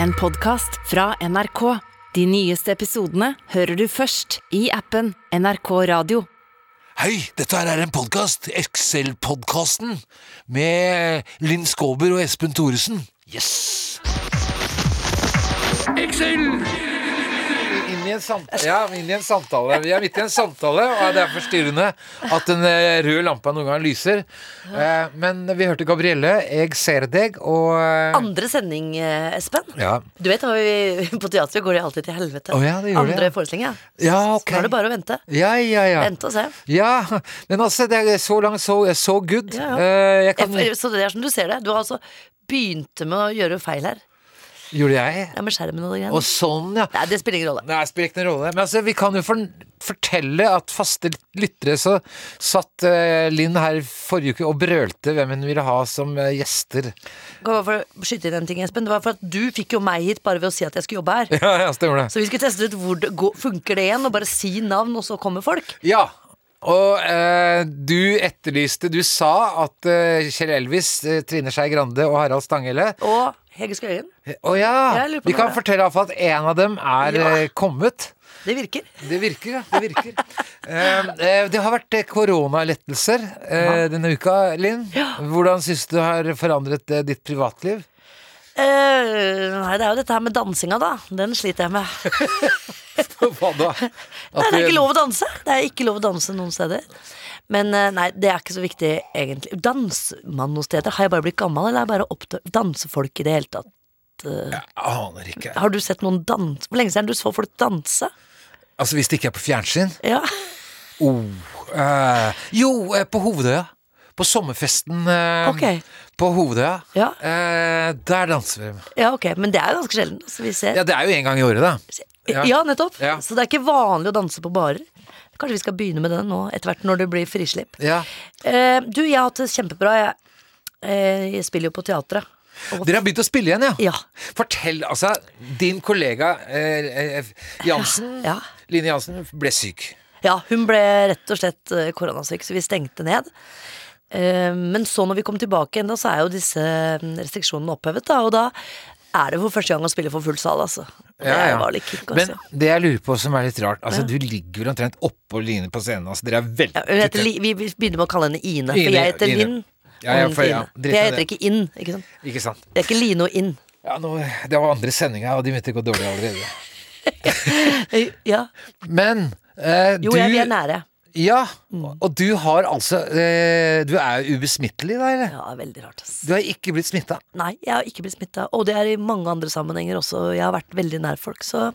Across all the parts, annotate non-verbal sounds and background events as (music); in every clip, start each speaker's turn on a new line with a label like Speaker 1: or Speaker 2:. Speaker 1: En podcast fra NRK. De nyeste episodene hører du først i appen NRK Radio.
Speaker 2: Hei, dette her er en podkast, Excel-podkasten, med Linn Skåber og Espen Thoresen. Yes! Excel! Inn i, en samtale. Ja, inn i en samtale. Vi er midt i en samtale, og det er forstyrrende at den eh, røde lampa noen ganger lyser. Eh, Men vi hørte Gabrielle, 'Jeg ser deg', og eh,
Speaker 3: Andre sending, eh, Espen.
Speaker 2: Ja,
Speaker 3: Du vet, når vi, (laughs) På teatret går det alltid til helvete.
Speaker 2: Å ja, det gjør det,
Speaker 3: Andre
Speaker 2: ja.
Speaker 3: forestillinger.
Speaker 2: ja ok.
Speaker 3: Nå er det bare å vente.
Speaker 2: Ja, ja, ja.
Speaker 3: Vente og se.
Speaker 2: Ja, men altså, det er så langt, så, so good.
Speaker 3: Ja, ja.
Speaker 2: Eh, Jeg kan,
Speaker 3: F- Så det er som du ser det. Du har altså begynte med å gjøre feil her.
Speaker 2: gjorde jeg?
Speaker 3: Ja, Med skjermen og de
Speaker 2: Og
Speaker 3: greiene.
Speaker 2: sånn, ja.
Speaker 3: Nei, det spiller ingen rolle.
Speaker 2: Nei, det spiller ikke noen rolle. Men altså, vi kan jo for fortelle at faste lyttere så satt eh, Linn her forrige uke og brølte hvem hun ville ha som eh, gjester.
Speaker 3: Kan jeg bare få skyte inn en ting, Espen? Det var for at du fikk jo meg hit bare ved å si at jeg skulle jobbe her.
Speaker 2: (laughs) Ja, ja, stemmer det.
Speaker 3: Så vi skulle teste ut hvor det går, funker det igjen, og bare si navn, og så kommer folk.
Speaker 2: Ja, og eh, du etterlyste Du sa at eh, Kjell Elvis, eh, Trine Skei Grande og Harald Stanghelle
Speaker 3: Og Hege Skøyen.
Speaker 2: Å ja!
Speaker 3: Jeg lurer på
Speaker 2: Vi
Speaker 3: om
Speaker 2: kan
Speaker 3: det er-
Speaker 2: fortelle iallfall at én av dem er
Speaker 3: Ja.
Speaker 2: eh, kommet.
Speaker 3: Det virker.
Speaker 2: Det virker, ja. Det virker. Eh, eh, det har vært eh, koronalettelser eh, denne uka, Linn. Hvordan syns du det har forandret eh, ditt privatliv?
Speaker 3: Eh, nei, det er jo dette her med dansinga, da. Den sliter jeg med.
Speaker 2: Hva da?
Speaker 3: Nei,
Speaker 2: At
Speaker 3: det er
Speaker 2: du-
Speaker 3: ikke lov å danse. Det er ikke lov å danse noen steder. Men eh, nei, det er ikke så viktig, egentlig. Danser man noen steder? Har jeg bare blitt gammel, eller er jeg bare opptatt dansefolk i det hele tatt?
Speaker 2: Jeg aner ikke.
Speaker 3: Har du sett noen danse Hvor lenge siden er det du så folk danse?
Speaker 2: Altså, hvis det ikke er på fjernsyn
Speaker 3: Ja. (laughs)
Speaker 2: oh, eh, Jo, eh, på Hovedøya. På sommerfesten eh,
Speaker 3: Ok.
Speaker 2: på Hovedøya.
Speaker 3: Ja.
Speaker 2: Eh, der danser vi.
Speaker 3: ja, ok. Men det er jo ganske sjelden. Så vi ser.
Speaker 2: Ja, det er jo en gang i året, da.
Speaker 3: Ja, nettopp.
Speaker 2: Ja.
Speaker 3: Så det er ikke vanlig å danse på barer. Kanskje vi skal begynne med det nå, etter hvert når det blir frislipp.
Speaker 2: Ja.
Speaker 3: Eh, du, jeg har hatt det kjempebra. Jeg, eh, jeg spiller jo på teatret. Og,
Speaker 2: Dere har begynt å spille igjen, ja?
Speaker 3: Ja.
Speaker 2: Fortell, altså. Din kollega eh, eh, Jansen,
Speaker 3: Ja.
Speaker 2: Line Jansen, ble syk.
Speaker 3: Ja, hun ble rett og slett eh, koronasyk, så vi stengte ned. Eh, Men så når vi kom tilbake igjen, da, så er jo disse mm, restriksjonene opphevet, da. Og da er det for første gang å spille for full sal, altså. Og
Speaker 2: Ja, ja.
Speaker 3: Det var litt kick,
Speaker 2: Men
Speaker 3: altså.
Speaker 2: det jeg lurer på som er litt rart Altså, du ligger vel omtrent oppå Line på scenen. Altså, dere er veldig
Speaker 3: ja, hun heter, Li- vi begynner med å kalle henne
Speaker 2: Ine,
Speaker 3: Ine, for jeg heter
Speaker 2: Ine.
Speaker 3: Linn.
Speaker 2: Ja, ja,
Speaker 3: og hun
Speaker 2: for-
Speaker 3: heter
Speaker 2: ja,
Speaker 3: Ine.
Speaker 2: drit
Speaker 3: For
Speaker 2: i
Speaker 3: jeg heter
Speaker 2: det.
Speaker 3: ikke Inn. Ikke sant?
Speaker 2: Ikke sant?
Speaker 3: Det er ikke Line og Inn.
Speaker 2: Ja, nå, det var andre sendinga, og de begynte å gå dårlig allerede.
Speaker 3: Eh, Ja.
Speaker 2: Men eh,
Speaker 3: Jo,
Speaker 2: du
Speaker 3: jeg, vi er Mm. nære.
Speaker 2: Ja, og du har altså eh, Du er jo ubesmittelig, da, eller?
Speaker 3: Ja, veldig rart. ass.
Speaker 2: Du har ikke blitt smitta.
Speaker 3: Nei, jeg har ikke blitt smitta. Og det er i mange andre sammenhenger også. Jeg har vært veldig nær folk, så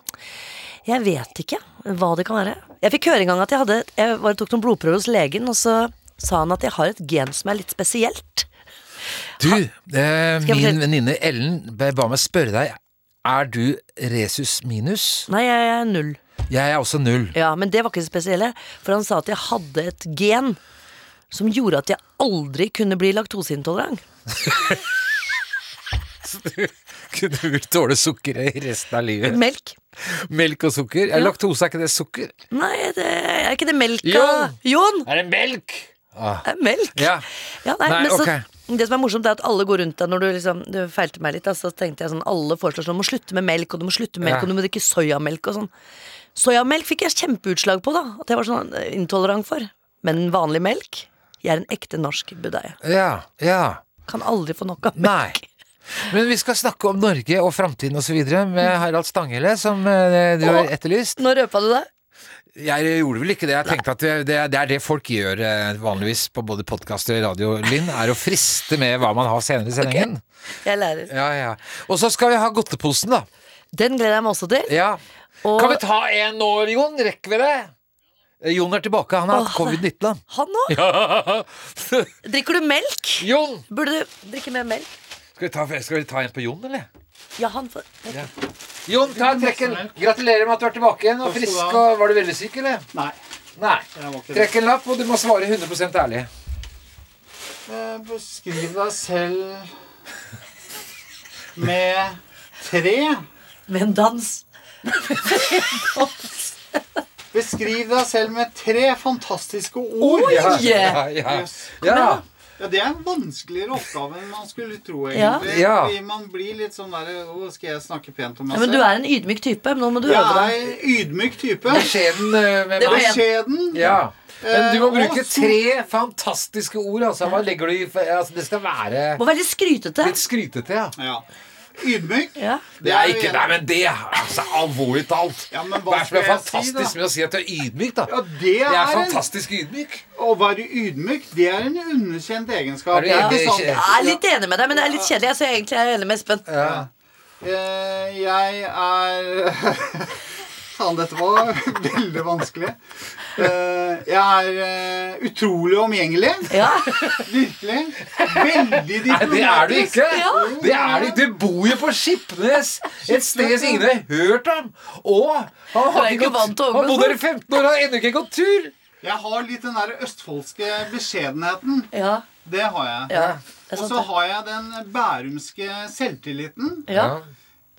Speaker 3: jeg vet ikke hva det kan være. Jeg fikk høre en gang at jeg hadde Jeg var, tok noen blodprøver hos legen, og så sa han at jeg har et gen som er litt spesielt.
Speaker 2: Du, eh,
Speaker 3: jeg
Speaker 2: min
Speaker 3: fortelle-
Speaker 2: venninne Ellen ba ba meg spørre deg Er du resus minus?
Speaker 3: Nei, jeg er null.
Speaker 2: Jeg er også null.
Speaker 3: Ja, Men det var ikke det spesielle, for han sa at jeg hadde et gen som gjorde at jeg aldri kunne bli laktoseintolerant.
Speaker 2: Kunne vel tåle sukker i resten av livet.
Speaker 3: Melk.
Speaker 2: Melk og sukker? Ja. Laktose, er ikke det sukker?
Speaker 3: Nei, det er ikke det melka
Speaker 2: Jon!
Speaker 3: Jon!
Speaker 2: Er det melk? Ah.
Speaker 3: Det er melk.
Speaker 2: Ja.
Speaker 3: Ja, nei,
Speaker 2: Nei,
Speaker 3: men så,
Speaker 2: ok.
Speaker 3: Det som er morsomt, er at alle går rundt deg når du liksom Du feilte meg litt, da, så tenkte jeg sånn Alle foreslår sånn Du må slutte med melk, og du må slutte med melk,
Speaker 2: Ja.
Speaker 3: og du må drikke soyamelk og sånn. Soyamelk fikk jeg kjempeutslag på, da. At jeg var sånn eh, intolerant for. Men vanlig melk Jeg er en ekte norsk budeie.
Speaker 2: ja. Ja.
Speaker 3: Kan aldri få nok av
Speaker 2: Nei.
Speaker 3: melk.
Speaker 2: Men vi skal snakke om Norge og framtiden osv. med Harald Stanghelle, som eh, du har
Speaker 3: Og-
Speaker 2: etterlyst.
Speaker 3: (laughs) Nå røpa du det.
Speaker 2: Jeg gjorde vel ikke det. Jeg tenkte at det, det, det er det folk gjør eh, vanligvis på både podkast og radio, Linn, er å friste med hva man har senere i sendingen.
Speaker 3: Jeg lærer.
Speaker 2: Ja, ja. Og så skal vi ha godteposen, da.
Speaker 3: Den gleder jeg meg også til.
Speaker 2: Ja.
Speaker 3: Og
Speaker 2: Kan vi ta en nå, Jon? Rekker vi det? Eh, Jon er tilbake. Han har hatt
Speaker 3: Åh,
Speaker 2: covid-19, da.
Speaker 3: han òg. Drikker du melk?
Speaker 2: (laughs) Jon!
Speaker 3: Burde du drikke mer melk?
Speaker 2: Skal vi, ta, skal vi ta en på Jon, eller?
Speaker 3: Ja, han får
Speaker 2: Ja. Jon, ta en trekken. Gratulerer med at du er tilbake igjen og
Speaker 4: Takk skal
Speaker 2: frisk.
Speaker 4: du ha.
Speaker 2: og Var du veldig syk, eller?
Speaker 4: Nei.
Speaker 2: Nei.
Speaker 4: Jeg var ikke det.
Speaker 2: Trekk en lapp, og du må svare 100 ærlig.
Speaker 4: Eh, Beskriv deg selv med tre.
Speaker 3: med en dans.
Speaker 4: Beskriv deg selv med tre fantastiske ord.
Speaker 3: Oi!
Speaker 2: Ja, ja, ja.
Speaker 4: Yes.
Speaker 2: ja.
Speaker 4: Ja, det er en vanskeligere oppgave enn man skulle tro, egentlig.
Speaker 2: Ja.
Speaker 4: Fordi man blir litt sånn derre Å, skal jeg snakke pent om meg
Speaker 3: Ja, men du er en ydmyk type. men Nå må du øve
Speaker 4: Jeg
Speaker 3: deg.
Speaker 4: er en ydmyk type.
Speaker 2: Beskjeden eh, med
Speaker 3: Det var
Speaker 2: meg.
Speaker 3: jeg.
Speaker 4: Beskjeden.
Speaker 2: Ja. Men du må
Speaker 4: Eh,
Speaker 2: bruke
Speaker 4: og så-
Speaker 2: tre fantastiske ord. Altså. Hva legger du i altså, Det skal være
Speaker 3: Må være litt skrytete.
Speaker 2: litt skrytete, ja.
Speaker 4: Ja. Ydmyk.
Speaker 3: Ja.
Speaker 2: Det er ikke,
Speaker 4: jo
Speaker 2: nei,
Speaker 4: en-
Speaker 2: men det er altså, Alvorlig talt.
Speaker 4: Ja, men hva
Speaker 2: Hva er det som er
Speaker 4: skal jeg
Speaker 2: fantastisk
Speaker 4: si, da?
Speaker 2: med å si at du er ydmyk, da?
Speaker 4: Ja, det
Speaker 2: Jeg er
Speaker 4: er en-
Speaker 2: fantastisk ydmyk.
Speaker 4: Å være ydmyk, det er en underkjent egenskap.
Speaker 2: Er du enig?
Speaker 4: Ikke sant?
Speaker 2: Ja.
Speaker 3: Jeg er litt enig med deg, men det er litt kjedelig. Så egentlig er jeg enig med Espen.
Speaker 4: Eh, jeg er (laughs) Faen, dette var veldig vanskelig. Eh, jeg er eh, utrolig omgjengelig.
Speaker 3: Ja.
Speaker 4: Virkelig.
Speaker 2: Nei,
Speaker 4: Veldig
Speaker 2: det er du
Speaker 4: diplomatisk.
Speaker 2: ikke. Det er du ikke. Du bor jo på Skipnes, et sted som ingen har hørt om. Og han,
Speaker 3: Du er
Speaker 2: hadde
Speaker 3: ikke
Speaker 2: ikke gått,
Speaker 3: vant til å
Speaker 2: han
Speaker 3: åpne sånn.
Speaker 2: bodde her i 15 år og har ennå ikke gått tur.
Speaker 4: Jeg har litt den der østfoldske beskjedenheten.
Speaker 3: Ja.
Speaker 4: Det har jeg.
Speaker 3: ja. Det er
Speaker 4: Og
Speaker 3: sant,
Speaker 4: så
Speaker 3: det.
Speaker 4: har jeg den bærumske selvtilliten.
Speaker 3: Ja.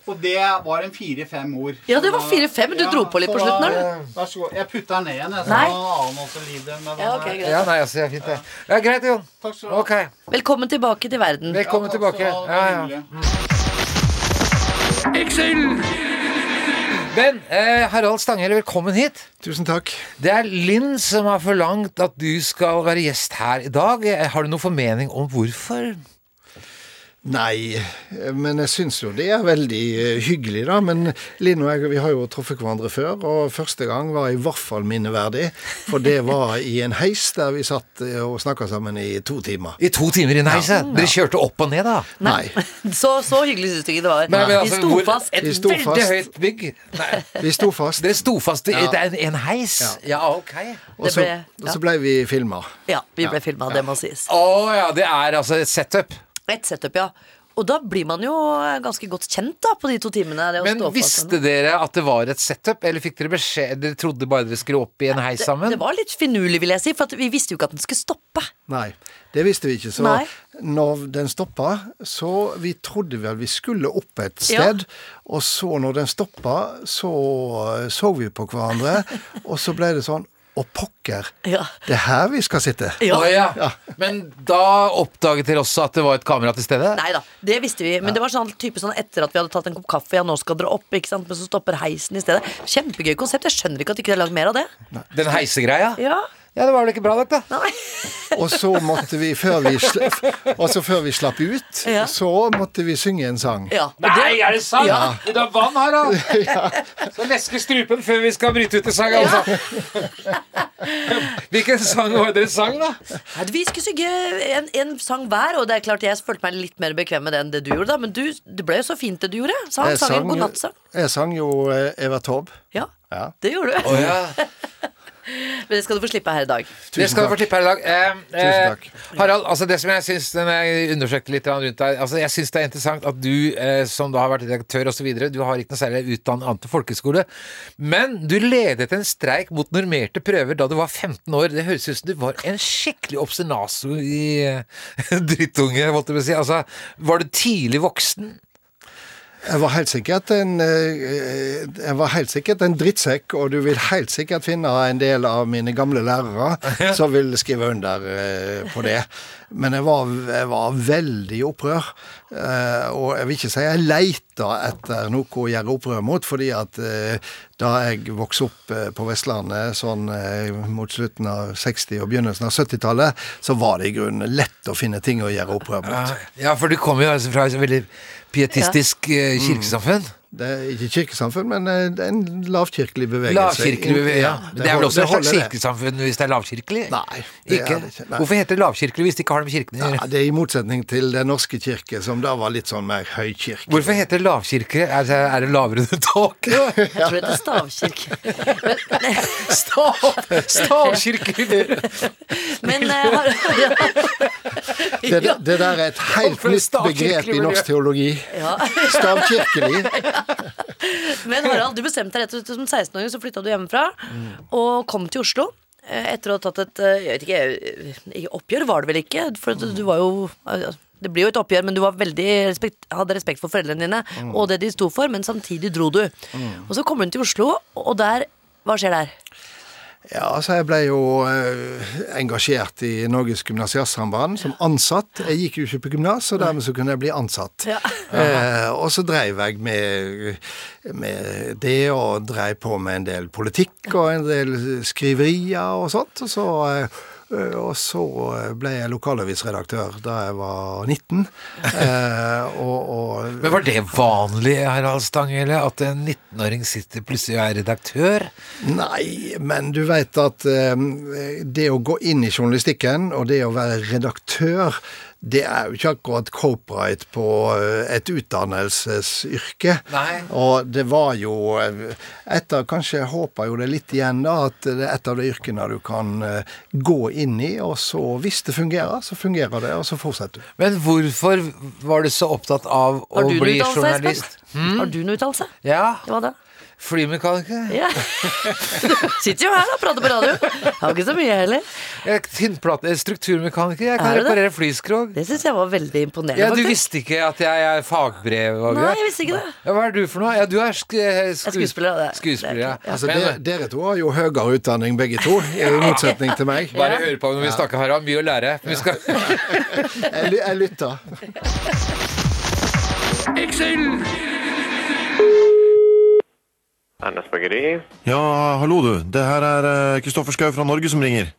Speaker 4: Og det var en fire-fem ord.
Speaker 3: Ja, det var fire-fem. Du dro på litt
Speaker 4: så
Speaker 3: på slutten,
Speaker 4: da-
Speaker 2: eller?
Speaker 4: Vær så god. Jeg putter den ned igjen. Jeg, så
Speaker 3: Nei.
Speaker 4: noen annen også lider
Speaker 3: Ja,
Speaker 4: med den
Speaker 3: ok,
Speaker 4: her.
Speaker 2: Ja,
Speaker 3: greit.
Speaker 2: nei, altså, det er fint, det. Ja, greit, Jon.
Speaker 4: Takk skal du ha.
Speaker 2: Ok.
Speaker 3: Velkommen tilbake til verden.
Speaker 2: Velkommen
Speaker 4: Ja, takk
Speaker 2: tilbake.
Speaker 4: skal du ha.
Speaker 2: Ja, ja.
Speaker 4: Hyggelig.
Speaker 2: Men eh, Harald Stanghelle, velkommen hit.
Speaker 5: Tusen takk.
Speaker 2: Det er Linn som har forlangt at du skal være gjest her i dag. Eh, Har du noen formening om hvorfor?
Speaker 5: Nei, men jeg syns jo det er veldig eh, hyggelig, da. Men Linn og jeg vi har jo truffet hverandre før, og første gang var i hvert fall minneverdig. For det var i en heis der vi satt eh, og snakka sammen i to timer.
Speaker 2: I to timer i Neise. Dere kjørte opp og ned, da.
Speaker 5: Nei.
Speaker 3: Så, så hyggelig syns du ikke det var.
Speaker 2: Men, men altså,
Speaker 3: Vi sto
Speaker 2: hvor-
Speaker 3: fast.
Speaker 2: Et
Speaker 5: Vi sto
Speaker 2: veldig
Speaker 5: fast.
Speaker 2: høyt bygg. Nei,
Speaker 5: Vi sto fast,
Speaker 2: dere sto fast i
Speaker 5: Ja.
Speaker 2: det er en, en heis. Ja, ok. Å
Speaker 5: og så,
Speaker 3: ble-
Speaker 5: og så blei vi filma.
Speaker 3: Ja, vi ble filma, det må sies.
Speaker 2: ja, det er altså et setup.
Speaker 3: Et setup, ja. Og da blir man jo eh, ganske godt kjent da på de to timene. Det å
Speaker 2: Men
Speaker 3: stå fast sånn.
Speaker 2: visste
Speaker 3: sammen.
Speaker 2: dere at det var et setup, eller fikk dere beskjed Dere trodde bare dere skulle opp i en heis sammen?
Speaker 3: Det var litt finurlig, vil jeg si, for at vi visste jo ikke at den skulle stoppe.
Speaker 5: Nei, det visste vi ikke. Så
Speaker 3: Nei.
Speaker 5: når den stoppa, så Vi trodde vel vi skulle opp et
Speaker 3: Ja.
Speaker 5: sted, og så når den stoppa, så eh, så vi
Speaker 3: (laughs)
Speaker 5: på hverandre, og så ble det sånn Å, pokker!
Speaker 3: Ja.
Speaker 5: Det er her vi skal
Speaker 3: (laughs)
Speaker 5: sitte.
Speaker 3: Ja.
Speaker 2: Å, ja. Men da oppdaget dere også at det var et kamera til stede?
Speaker 3: Nei da, det visste vi. Men det var sånn type sånn etter at vi hadde tatt en kopp kaffe, ja, nå skal dere opp, ikke sant, men så stopper heisen i stedet. Kjempegøy konsept. Jeg skjønner ikke at de ikke har lagd mer av det.
Speaker 2: Den heisegreia?
Speaker 3: Ja.
Speaker 2: Ja, det var vel ikke bra nok, da.
Speaker 3: Nei.
Speaker 5: Og så måtte vi, før vi, sl og så før vi slapp ut,
Speaker 3: Ja.
Speaker 5: så måtte vi synge en sang.
Speaker 3: Ja. og
Speaker 2: Nei,
Speaker 3: det-
Speaker 2: er det sant?
Speaker 3: Ja.
Speaker 2: Vil du ha vann,
Speaker 3: (laughs)
Speaker 2: Harald? Så leske strupen før vi skal bryte ut i sang, altså. Hvilken sang var det dere sang, da?
Speaker 3: Nei, Vi skulle synge en, en sang hver, og det er klart jeg følte meg litt mer bekvem med det enn det du gjorde, da. Men du, det ble jo så fint det du gjorde. Så han
Speaker 5: Jeg
Speaker 3: sang en
Speaker 5: Eh, sang,
Speaker 3: godnattsang.
Speaker 5: jeg sang jo eh, Eva Torb.
Speaker 3: Ja,
Speaker 5: Ja.
Speaker 3: det gjorde
Speaker 2: Å
Speaker 3: du.
Speaker 2: ja.
Speaker 3: Men det skal du få slippe her i dag.
Speaker 2: Det skal du få
Speaker 5: takk.
Speaker 2: slippe her i dag. Eh,
Speaker 5: Tusen
Speaker 2: eh,
Speaker 5: takk.
Speaker 2: Harald, altså det som jeg syns når jeg undersøkte litt rundt deg altså Jeg syns det er interessant at du, eh, som da har vært redaktør osv., du har ikke noe særlig utdannet annet enn folkeskole, men du ledet en streik mot normerte prøver da du var 15 år. Det høres ut som du var en skikkelig obsenaso i eh, (laughs) drittunge, måtte jeg si. Altså, var du tidlig voksen?
Speaker 5: Jeg var helt sikkert en, eh, jeg var helt sikkert en drittsekk, og du vil helt sikkert finne en del av mine gamle lærere som vil skrive under eh, på det. Men jeg var, jeg var veldig i opprør, eh, og jeg vil ikke si jeg leita etter noe å gjøre opprør mot, fordi at eh, da jeg vokste opp eh, på Vestlandet sånn eh, mot slutten av 60- og begynnelsen av 70-tallet, så var det i grunnen lett å finne ting å gjøre opprør mot.
Speaker 2: Ja, for du kommer jo altså fra et veldig pietistisk eh, kirkesamfunn.
Speaker 5: Det er ikke kirkesamfunn, men eh, det er en lavkirkelig bevegelse.
Speaker 2: Lavkirkelig ja. Det er vel også et
Speaker 5: holder,
Speaker 2: slags
Speaker 5: det.
Speaker 2: kirkesamfunn hvis det er lavkirkelig?
Speaker 5: Nei, det
Speaker 2: Ikke?
Speaker 5: er det ikke. Nei.
Speaker 2: Hvorfor heter det lavkirkelig hvis det ikke har det med kirken å
Speaker 5: Ja,
Speaker 2: gjøre?
Speaker 5: det er i motsetning til Den norske kirke, som da var litt sånn mer høykirke.
Speaker 2: Hvorfor heter det lavkirke? Er det, er det lavere enn tåke?
Speaker 3: Jeg tror det heter stavkirke.
Speaker 2: Stav, (laughs) stavkirkelig!
Speaker 3: Men eh, har,
Speaker 5: (laughs) Det, det der er et helt
Speaker 2: (laughs) Hvorfor
Speaker 5: nytt
Speaker 2: stavkirkelig
Speaker 5: begrep i
Speaker 2: miljø?
Speaker 5: norsk teologi.
Speaker 3: ja.
Speaker 5: Stavkirkelig.
Speaker 3: Men Harald, du bestemte deg rett og slett som 16-åring, så flytta du hjemmefra og kom til Oslo. eh, Etter å ha tatt et eh, jeg vet ikke, eh, oppgjør var det vel ikke? For at du var jo eh, Det blir jo et oppgjør, men du var veldig respekt, hadde respekt for foreldrene dine
Speaker 2: Mm.
Speaker 3: og det de sto for, men samtidig dro du. Og så kom hun til Oslo, og der Hva skjer der?
Speaker 5: Ja, så jeg ble jo eh, engasjert i Norges gymnasiastsamband som ansatt. Jeg gikk jo ikke på gymnas, og dermed så kunne jeg bli ansatt.
Speaker 3: Ja.
Speaker 5: (laughs) Eh, og så dreiv jeg med, med det, og dreiv på med en del politikk og en del skriverier og sånt. Og så, eh, og så ble jeg lokalavisredaktør da jeg var 19. Eh, og, og
Speaker 2: Men var det vanlig, Harald Stanghelle, at en 19-åring sitter plutselig og er redaktør?
Speaker 5: Nei, men du vet at eh, det å gå inn i journalistikken og det å være redaktør, det er jo ikke akkurat copyright på eh, et utdannelsesyrke.
Speaker 2: Nei.
Speaker 5: Og det var jo eh, et av, Kanskje jeg håper jo det litt igjen, da, at det er et av de yrkene du kan eh, gå inn i, og så, hvis det fungerer, så fungerer det, og så fortsetter du.
Speaker 2: Men hvorfor var du så opptatt av å
Speaker 3: Har du noen
Speaker 2: bli
Speaker 3: utdannelse,
Speaker 2: journalist?
Speaker 3: Espen? Mm. Har du noen utdannelse?
Speaker 2: Ja,
Speaker 3: Hva da?
Speaker 2: flymekaniker.
Speaker 3: Ja. (laughs) Sitter jo her da, prater på radio. Har ikke så mye heller.
Speaker 2: Jeg er Tinnplate, strukturmekaniker. Jeg kan
Speaker 3: Er du det?
Speaker 2: reparere flyskrog.
Speaker 3: Det syns jeg var veldig imponerende.
Speaker 2: Ja, Du
Speaker 3: faktisk.
Speaker 2: visste ikke at jeg er fagbrev og
Speaker 3: Nei,
Speaker 2: greier?
Speaker 3: jeg visste ikke det.
Speaker 2: Ja, hva er du for noe? Ja, du er sk eh,
Speaker 3: er skuespiller, det-
Speaker 2: skuespiller
Speaker 3: det
Speaker 2: ja.
Speaker 3: er
Speaker 5: Altså,
Speaker 2: Men,
Speaker 5: dere, dere to har jo høyere utdanning begge to, i motsetning til meg.
Speaker 2: bare hør på når vi snakker, Harald. Mye å lære. Men vi skal
Speaker 5: Jeg, ly- jeg lytter.
Speaker 6: Ernas Bakeri.
Speaker 7: Ja, hallo du. Det her er eh, Kristoffer Schau fra Norge som ringer.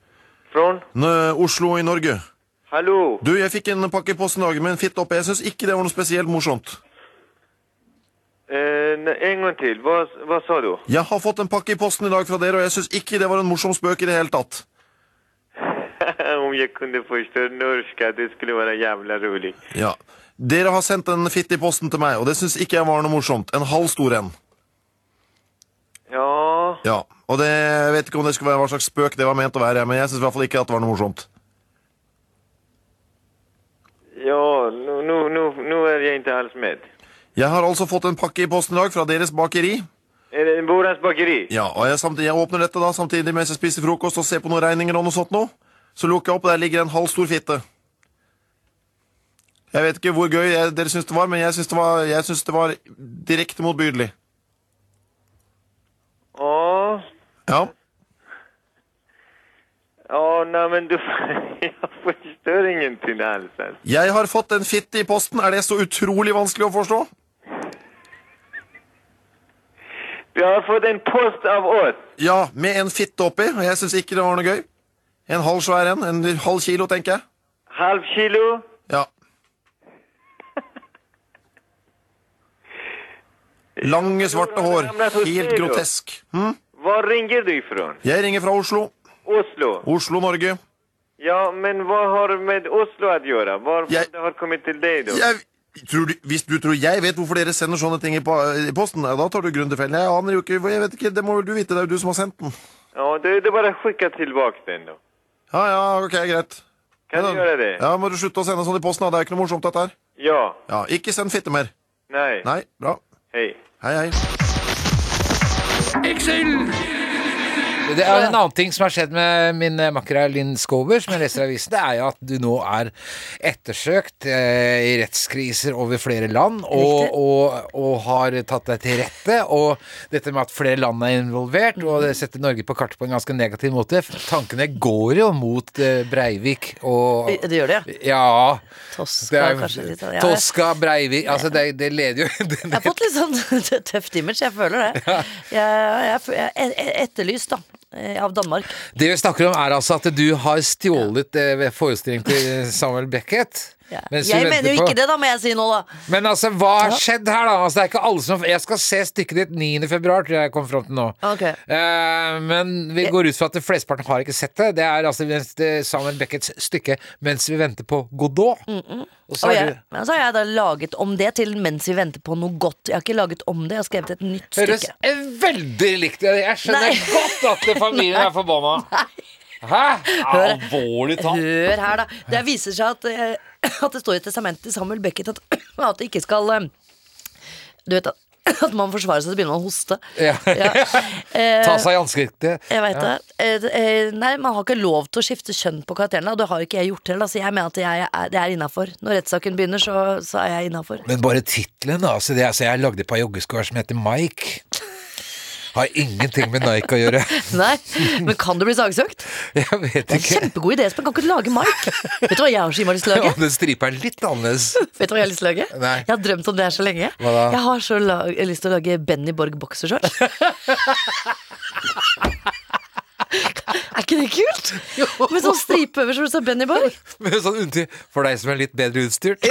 Speaker 6: Från?
Speaker 7: N Oslo i Norge.
Speaker 6: Hallo!
Speaker 7: Du, jeg fikk en pakke i posten i dag med en fitt oppe. Jeg syns ikke det var noe spesielt morsomt.
Speaker 6: Eh, ne- en gang til, hva, hva sa du?
Speaker 7: Jeg har fått en pakke i posten i dag fra dere, og jeg syns ikke det var en morsom spøk i det hele tatt.
Speaker 6: (laughs) Om jag kunde förstå norska, det skulle vara jävla roligt.
Speaker 7: Ja. Dere har sendt en fitt i posten til meg, og det syns ikke jeg var noe morsomt. En halv stor en.
Speaker 6: Ja,
Speaker 7: Ja. Og det, jeg vet ikke om det skulle være hva slags spøk det var ment å være, men jeg syns i hvert fall ikke at det var noe morsomt.
Speaker 6: ja, nu, nu, nu, nu är jag inte alls med.
Speaker 7: Jeg har altså fått en pakke i posten i dag fra deres bakeri.
Speaker 6: Är det Borans Bakeri?
Speaker 7: Ja, og jeg, samtidig, jeg åpner dette da samtidig mens jeg spiser frokost og ser på noen regninger og noe sånt nå. Så lukker jeg opp, og der ligger en halv stor fitte. Jeg vet ikke hvor gøy jeg, dere syns det var, men jeg syns det var, jeg syns det var direkte motbydelig.
Speaker 6: Ja,
Speaker 7: Ja.
Speaker 6: ja, nej men du, (laughs) jag förstår ingenting alls. alltså.
Speaker 7: Jeg har fått en fitte i posten. Er det så utrolig vanskelig å forstå?
Speaker 6: Du har fått en post av oss.
Speaker 7: Ja, med en fitte oppi, og jeg syns ikke det var noe gøy. En halv svær en. En halv kilo, tenker jeg.
Speaker 6: Halv kilo?
Speaker 7: Ja. Lange, svarte hår. Helt grotesk. Hm?
Speaker 6: Var ringer du ifrån?
Speaker 7: Jeg ringer fra Oslo.
Speaker 6: Oslo?
Speaker 7: Oslo, Norge.
Speaker 6: Ja, men vad har med Oslo att göra? Varför
Speaker 7: Jag-
Speaker 6: det har kommit till dig då?
Speaker 7: Jeg, tror du, hvis du tror jeg vet hvorfor dere sender sånne ting i, pa- i posten, ja, da tar du grunn til feil. Jeg aner jo ikke, jeg vet ikke, det må vel du vite, det er jo du som har sendt den.
Speaker 6: Ja, det, det är bara att skicka tillbaka den då.
Speaker 7: Ja, ja, ok, greit.
Speaker 6: Kan du
Speaker 7: Ja,
Speaker 6: göra det?
Speaker 7: Ja, må du slutte å sende sånn i posten, da. det er ikke noe morsomt dette her.
Speaker 6: Ja.
Speaker 7: Ja, ikke send fitte mer.
Speaker 6: Nej.
Speaker 7: Nei, bra.
Speaker 6: Hej.
Speaker 7: Hei, hei.
Speaker 2: Det er En annen ting som har skjedd med min eh, makker her, Linn Skåber, som jeg leser i avisen, det er jo at du nå er ettersøkt eh, i rettskriser over flere land, og,
Speaker 3: Riktig.
Speaker 2: og, og har tatt deg til rette. Og dette med at flere land er involvert, og det setter Norge på kartet på en ganske negativ måte. Tankene går jo mot eh, Breivik og
Speaker 3: Det gjør det, ja.
Speaker 2: Ja.
Speaker 3: Toska,
Speaker 2: Det er,
Speaker 3: kanskje litt. Ja, jeg,
Speaker 2: Toska, Breivik Altså, det, det leder jo (laughs)
Speaker 3: jeg har fått litt sånn (laughs) tøft image, jeg føler det. Jeg, jeg, jeg, jeg etterlyst, da. eh, Av Danmark.
Speaker 2: Det vi snakker om er altså at du har stjålet eh, forestillingen til Samuel Beckett.
Speaker 3: Ja.
Speaker 2: mens du
Speaker 3: Jeg
Speaker 2: venter
Speaker 3: mener jo
Speaker 2: på-
Speaker 3: ikke det, da, må jeg si nå, da.
Speaker 2: Men altså, hva har skjedd her, da? Altså, det er ikke alle som Jeg skal se stykket ditt 9. februar, tror jeg jeg kom fram til nå.
Speaker 3: Ok.
Speaker 2: Eh, men vi går ut fra at flesteparten har ikke sett det. Det er altså det- Samuel Becketts stykke 'Mens vi venter på Godot'.
Speaker 3: Mm,
Speaker 2: Og så
Speaker 3: Og
Speaker 2: er
Speaker 3: jeg,
Speaker 2: du
Speaker 3: men så har jeg da laget om det til mens vi venter på noe godt. Jeg har ikke laget om det, jeg har skrevet et nytt
Speaker 2: Høres
Speaker 3: stykke.
Speaker 2: eh, veldig likt ut. Jeg skjønner
Speaker 3: Nei.
Speaker 2: godt at familien er forbanna. Hæ? Alvorlig talt.
Speaker 3: Hør her, da. Det viser seg at, eh, (clears throat) at det står i testamentet til Samuel Beckett at, (clears throat) at det ikke skal eh, Du vet at, (clears throat) at man forsvarer seg, så begynner man å hoste.
Speaker 2: Ja.
Speaker 3: Eh,
Speaker 2: (laughs) Ta seg i ansiktet.
Speaker 3: Jeg vet det. Eh, eh, Nei, man har ikke lov til å skifte kjønn på karakterene, og det har ikke jeg gjort heller. Så jeg mener at jeg er, det er innafor. Når rettssaken begynner, så, så er jeg innafor.
Speaker 2: Men bare tittelen, da. Altså det, altså jeg lagde et par joggeskoer som heter Mike. Har ingenting med Nike å gjøre. (laughs)
Speaker 3: Nei, Men kan du bli sagsøkt?
Speaker 2: Jeg vet ikke.
Speaker 3: Det er en kjempegod idé, Espen. Kan ikke du lage Mike? Vet du hva jeg har så innmari lyst
Speaker 2: (laughs)
Speaker 3: til å lage?
Speaker 2: Om den stripa er litt annerledes.
Speaker 3: Vet du hva jeg har lyst til å lage?
Speaker 2: Nei.
Speaker 3: Jeg har drømt om det her så lenge.
Speaker 2: Hva da?
Speaker 3: Jeg har så la jeg har lyst til å lage Benny Borg boksershorts.
Speaker 2: (laughs)
Speaker 3: er ikke det kult? Med sånn stripe over som det står Benny Borg.
Speaker 2: Med sånn unntil for deg som er litt bedre utstyrt.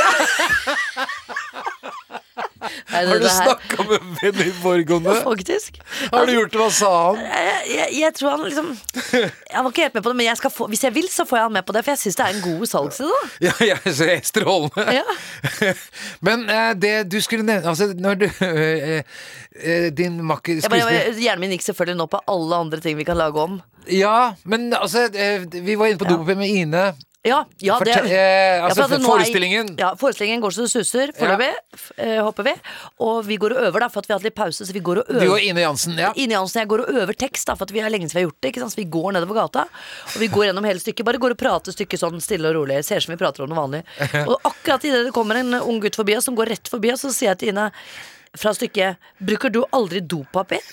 Speaker 3: Nei,
Speaker 2: Har du
Speaker 3: det her-
Speaker 2: snakka med Benny Borg om det?
Speaker 3: Faktisk.
Speaker 2: Har du gjort det? Hva sa han?
Speaker 3: Jeg, jeg, jeg tror han
Speaker 2: (laughs)
Speaker 3: liksom Han var ikke helt med på det, men jeg skal få, hvis jeg vil, så får jeg han med på det. For jeg syns det er en god salgsidé, da.
Speaker 2: (laughs) Ja, jeg er så strålende.
Speaker 3: Ja.
Speaker 2: (laughs) Men eh, det du skulle nevne Altså, når du (laughs) eh, eh, Din makker
Speaker 3: Jeg bare,
Speaker 2: skuespiller
Speaker 3: jeg, hjernen min gikk selvfølgelig nå på alle andre ting vi kan lage om.
Speaker 2: Ja, men altså eh, Vi var inne på dopapir med Ine.
Speaker 3: Ja, ja det
Speaker 2: Fortell- eh, altså,
Speaker 3: Ja, for at nå er-
Speaker 2: forestillingen.
Speaker 3: Ja, forestillingen går så det suser foreløpig, f- eh, håper vi. Og vi går og øver, da, for at vi har hatt litt pause. Så vi går og
Speaker 2: Du og
Speaker 3: øver.
Speaker 2: Ine Jansen. Ja.
Speaker 3: Ine Jansen og jeg går og øver tekst, da, for at vi har lenge siden vi har gjort det. Ikke sant? Så vi går nedover gata, og vi går gjennom hele stykket. Bare går og prater stykket sånn stille og rolig. Ser ut som vi prater om noe vanlig. Og akkurat idet det kommer en ung gutt forbi oss, som går rett forbi oss, så sier jeg til Ine fra stykket 'Bruker du aldri dopapir?'